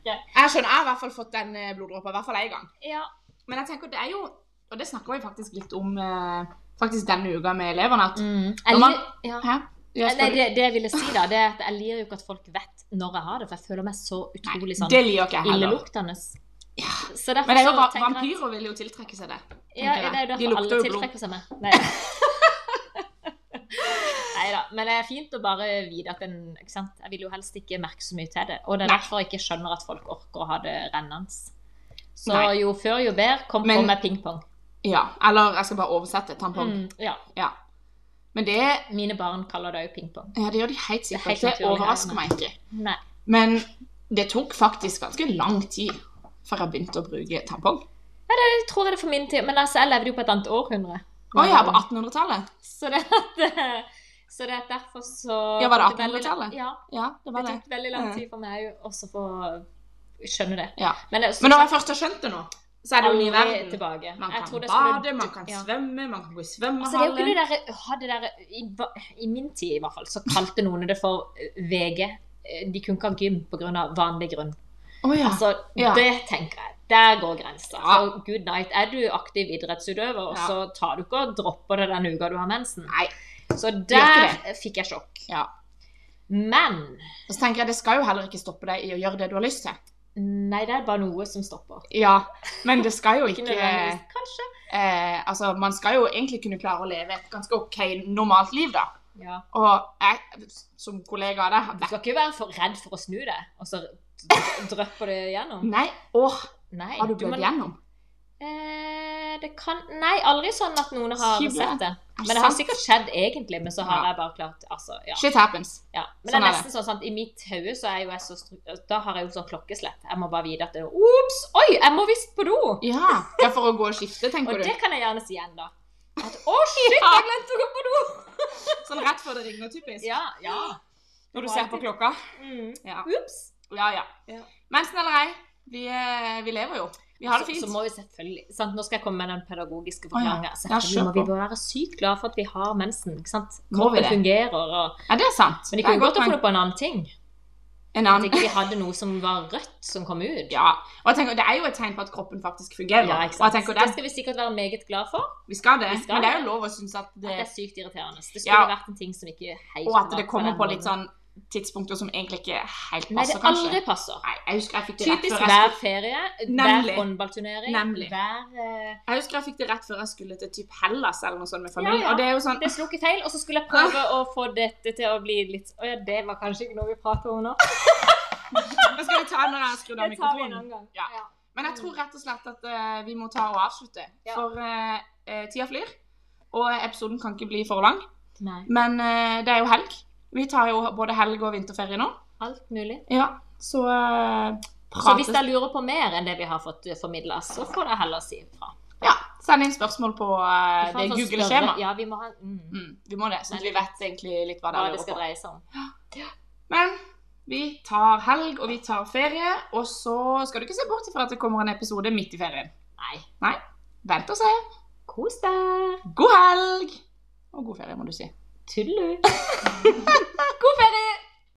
[SPEAKER 1] Jeg skjønner, jeg har i hvert fall fått den eh, bloddråpen, i hvert fall en gang.
[SPEAKER 2] Ja.
[SPEAKER 1] Men jeg tenker, det er jo, og det snakker vi faktisk litt om eh, faktisk denne uka med eleverne, at
[SPEAKER 2] Mm.
[SPEAKER 1] Når
[SPEAKER 2] Jeg
[SPEAKER 1] man-
[SPEAKER 2] lir- ja.
[SPEAKER 1] Hæ? Ja,
[SPEAKER 2] Nei,
[SPEAKER 1] spør du?
[SPEAKER 2] det, det jeg ville si, da, det er at jeg liker jo ikke at folk vet når jeg har det, for jeg føler meg så utrolig
[SPEAKER 1] Nei,
[SPEAKER 2] sånn
[SPEAKER 1] det liker ikke jeg heller.
[SPEAKER 2] illeluktende.
[SPEAKER 1] Ja.
[SPEAKER 2] Så derfor
[SPEAKER 1] Men det er jo,
[SPEAKER 2] så
[SPEAKER 1] va-
[SPEAKER 2] tenker jeg at-
[SPEAKER 1] vampyrer vil jo tiltrekke seg det.
[SPEAKER 2] Ja,
[SPEAKER 1] tenker jeg.
[SPEAKER 2] det er jo
[SPEAKER 1] De
[SPEAKER 2] derfor
[SPEAKER 1] lukter
[SPEAKER 2] alle
[SPEAKER 1] jo blod.
[SPEAKER 2] tiltrekker seg meg. Nei. Neida, men det er fint å bare vite at en ikke sant? Jeg vil jo helst ikke merke så mye til det. Og det er
[SPEAKER 1] Nei.
[SPEAKER 2] derfor jeg ikke skjønner at folk orker å ha det rennende. Så
[SPEAKER 1] Nei.
[SPEAKER 2] jo før, jo bedre. Kom
[SPEAKER 1] Men-
[SPEAKER 2] på med pingpong.
[SPEAKER 1] Ja, eller jeg skal bare oversette tampong.
[SPEAKER 2] Mm, ja.
[SPEAKER 1] Ja. Men det,
[SPEAKER 2] Mine barn kaller det òg pingpong.
[SPEAKER 1] ja, det gjør de helt
[SPEAKER 2] er
[SPEAKER 1] sikkert.
[SPEAKER 2] helt
[SPEAKER 1] Det
[SPEAKER 2] naturlig her,
[SPEAKER 1] overrasker
[SPEAKER 2] men-
[SPEAKER 1] meg ikke.
[SPEAKER 2] Nei.
[SPEAKER 1] Men det tok faktisk ganske lang tid før jeg begynte å bruke tampong.
[SPEAKER 2] Jeg tror det er for min tid, men altså, jeg levde jo på et annet århundre.
[SPEAKER 1] Å ja, på 1800-tallet.
[SPEAKER 2] Så det at eh, så det er derfor så
[SPEAKER 1] Ja, var det
[SPEAKER 2] tok veldig lang-
[SPEAKER 1] 1800-tallet?
[SPEAKER 2] Ja.
[SPEAKER 1] Ja, det var
[SPEAKER 2] Det
[SPEAKER 1] det.
[SPEAKER 2] tok veldig lang tid for meg å også få skjønne det.
[SPEAKER 1] Ja.
[SPEAKER 2] Men, eh, det-
[SPEAKER 1] Men når jeg først har skjønt det nå, så er det jo ny
[SPEAKER 2] Aldri
[SPEAKER 1] verden.
[SPEAKER 2] Tilbake.
[SPEAKER 1] Man
[SPEAKER 2] Jeg
[SPEAKER 1] kan
[SPEAKER 2] tror det skulle-
[SPEAKER 1] bade, man kan
[SPEAKER 2] ja.
[SPEAKER 1] svømme, man kan gå i
[SPEAKER 2] Altså, det er jo ikke
[SPEAKER 1] svømmehallen.
[SPEAKER 2] det der, ha det der eh, i, hva- I min tid i hvert fall, så kalte noen det for eh, VG. Eh, De kunne ikke ha gym på grunn av vanlig grunn.
[SPEAKER 1] Å ja.
[SPEAKER 2] Altså,
[SPEAKER 1] Ja.
[SPEAKER 2] Det tenker jeg. Der går grensa.
[SPEAKER 1] Ja.
[SPEAKER 2] For good night. Er du aktiv idrettsutøver, og
[SPEAKER 1] Ja.
[SPEAKER 2] så tar du ikke og dropper det den uka du har mensen.
[SPEAKER 1] Nei.
[SPEAKER 2] Så
[SPEAKER 1] Gjør
[SPEAKER 2] der fikk jeg sjokk.
[SPEAKER 1] Ja.
[SPEAKER 2] Men
[SPEAKER 1] Og så tenker jeg, det skal jo heller ikke stoppe deg i å gjøre det du har lyst til.
[SPEAKER 2] Nei, det er bare noe som stopper.
[SPEAKER 1] Ja, men det skal jo
[SPEAKER 2] Ikke
[SPEAKER 1] ikke...
[SPEAKER 2] nødvendigvis. Kanskje.
[SPEAKER 1] Eh, altså, man skal jo egentlig kunne klare å leve et ganske ok, normalt liv da.
[SPEAKER 2] Ja.
[SPEAKER 1] Og jeg, som kollega av deg,
[SPEAKER 2] Du skal ikke være for redd for å snu det, og så dr- drypper det gjennom.
[SPEAKER 1] nei, åh,
[SPEAKER 2] Nei,
[SPEAKER 1] har du
[SPEAKER 2] må-
[SPEAKER 1] blødd gjennom?
[SPEAKER 2] Eh, det kan Nei, aldri sånn at noen har
[SPEAKER 1] Skible.
[SPEAKER 2] sett det.
[SPEAKER 1] Er
[SPEAKER 2] Men det har
[SPEAKER 1] sant?
[SPEAKER 2] sikkert skjedd egentlig, men så har
[SPEAKER 1] Ja.
[SPEAKER 2] jeg bare klart Altså, ja.
[SPEAKER 1] Shit happens.
[SPEAKER 2] ja. Men det
[SPEAKER 1] Sånn
[SPEAKER 2] er
[SPEAKER 1] er
[SPEAKER 2] nesten sånn sant, i mitt hode så er jo jeg så stru... Da har jeg jo sånn klokkeslett. Jeg må bare vite at det er Ops! Oi, jeg må visst på do!
[SPEAKER 1] Ja, ja for å gå og skifte,
[SPEAKER 2] Og
[SPEAKER 1] tenker du.
[SPEAKER 2] det kan jeg gjerne si igjen, da. At å, shit, jeg glemte å gå på do!
[SPEAKER 1] Sånn rett før det ringer, typisk.
[SPEAKER 2] Ja, ja.
[SPEAKER 1] Når du ser på klokka.
[SPEAKER 2] Mm.
[SPEAKER 1] Ja.
[SPEAKER 2] Ops!
[SPEAKER 1] Ja, ja.
[SPEAKER 2] Ja.
[SPEAKER 1] Mensen eller ei, vi, eh, vi lever jo. Vi har det
[SPEAKER 2] Så,
[SPEAKER 1] fint.
[SPEAKER 2] så må vi selvfølgelig sant? Nå skal jeg komme med den pedagogiske
[SPEAKER 1] Å, ja.
[SPEAKER 2] forklaringa.
[SPEAKER 1] Ja,
[SPEAKER 2] Selvfølgelig
[SPEAKER 1] kjør
[SPEAKER 2] må
[SPEAKER 1] på.
[SPEAKER 2] vi bare være sykt glad for at vi har mensen. ikke sant?
[SPEAKER 1] Må vi
[SPEAKER 2] Kroppen
[SPEAKER 1] det?
[SPEAKER 2] fungerer. og
[SPEAKER 1] Ja, det er sant.
[SPEAKER 2] Men de
[SPEAKER 1] Det er
[SPEAKER 2] kunne godt
[SPEAKER 1] godt
[SPEAKER 2] ha
[SPEAKER 1] poeng.
[SPEAKER 2] funnet på en annen ting.
[SPEAKER 1] En
[SPEAKER 2] At
[SPEAKER 1] annen.
[SPEAKER 2] ikke de hadde noe som var rødt, som kom ut.
[SPEAKER 1] Ja, og jeg tenker, det er jo et tegn på at kroppen faktisk fungerer.
[SPEAKER 2] Ja, ikke
[SPEAKER 1] og jeg
[SPEAKER 2] sant?
[SPEAKER 1] tenker,
[SPEAKER 2] det
[SPEAKER 1] det,
[SPEAKER 2] skal vi sikkert være meget glad for.
[SPEAKER 1] vi skal det,
[SPEAKER 2] Vi skal
[SPEAKER 1] men det er
[SPEAKER 2] det.
[SPEAKER 1] jo lov å synes at
[SPEAKER 2] At det
[SPEAKER 1] det,
[SPEAKER 2] er sykt irriterende. Det skulle
[SPEAKER 1] Ja.
[SPEAKER 2] vært en ting som ikke helt
[SPEAKER 1] og at
[SPEAKER 2] var
[SPEAKER 1] det kommer
[SPEAKER 2] den
[SPEAKER 1] på litt
[SPEAKER 2] måten.
[SPEAKER 1] sånn tidspunkter som egentlig ikke helt
[SPEAKER 2] Nei,
[SPEAKER 1] passer,
[SPEAKER 2] det aldri
[SPEAKER 1] kanskje.
[SPEAKER 2] passer.
[SPEAKER 1] Nei, jeg husker jeg fikk det rett
[SPEAKER 2] Typisk
[SPEAKER 1] før jeg
[SPEAKER 2] hver
[SPEAKER 1] skulle,
[SPEAKER 2] ferie,
[SPEAKER 1] Nemlig.
[SPEAKER 2] hver håndballturnering,
[SPEAKER 1] Nemlig.
[SPEAKER 2] hver eh,
[SPEAKER 1] jeg husker jeg fikk det rett før jeg skulle til typ Hellas eller noe sånt med
[SPEAKER 2] Ja,
[SPEAKER 1] familien,
[SPEAKER 2] ja.
[SPEAKER 1] og det er jo sånn,
[SPEAKER 2] Det slo ikke feil, og så skulle jeg prøve
[SPEAKER 1] Ah.
[SPEAKER 2] å få dette til å bli litt Å ja, det var kanskje ikke noe vi prater om nå.
[SPEAKER 1] men skal vi ta når jeg skrur av
[SPEAKER 2] Det tar vi en
[SPEAKER 1] mikrofonen?
[SPEAKER 2] annen gang.
[SPEAKER 1] Ja. Men jeg tror rett og slett at eh, vi må ta og avslutte,
[SPEAKER 2] Ja.
[SPEAKER 1] for eh, eh, tida flyr, og episoden kan ikke bli for lang,
[SPEAKER 2] Nei.
[SPEAKER 1] men eh, det er jo helg. Vi tar jo både helg og vinterferie nå.
[SPEAKER 2] Alt mulig.
[SPEAKER 1] Ja, så eh,
[SPEAKER 2] Så
[SPEAKER 1] prates
[SPEAKER 2] hvis dere lurer på mer enn det vi har fått formidla, så får dere heller si ifra.
[SPEAKER 1] Ja, send inn spørsmål på eh,
[SPEAKER 2] Vi får
[SPEAKER 1] det
[SPEAKER 2] altså spørre-
[SPEAKER 1] Google-skjemaet.
[SPEAKER 2] Ja, vi må ha mm,
[SPEAKER 1] Mm, vi må det, sånn at vi vet egentlig litt hva det
[SPEAKER 2] hva
[SPEAKER 1] er
[SPEAKER 2] det
[SPEAKER 1] lurer
[SPEAKER 2] skal
[SPEAKER 1] på.
[SPEAKER 2] dreie seg om.
[SPEAKER 1] Men vi tar helg, og vi tar ferie, og så skal du ikke se bort ifra at det kommer en episode midt i ferien.
[SPEAKER 2] Nei.
[SPEAKER 1] Vent og se.
[SPEAKER 2] Kos deg!
[SPEAKER 1] God helg! Og god ferie, må du si.
[SPEAKER 2] Tudelu!
[SPEAKER 1] God ferie!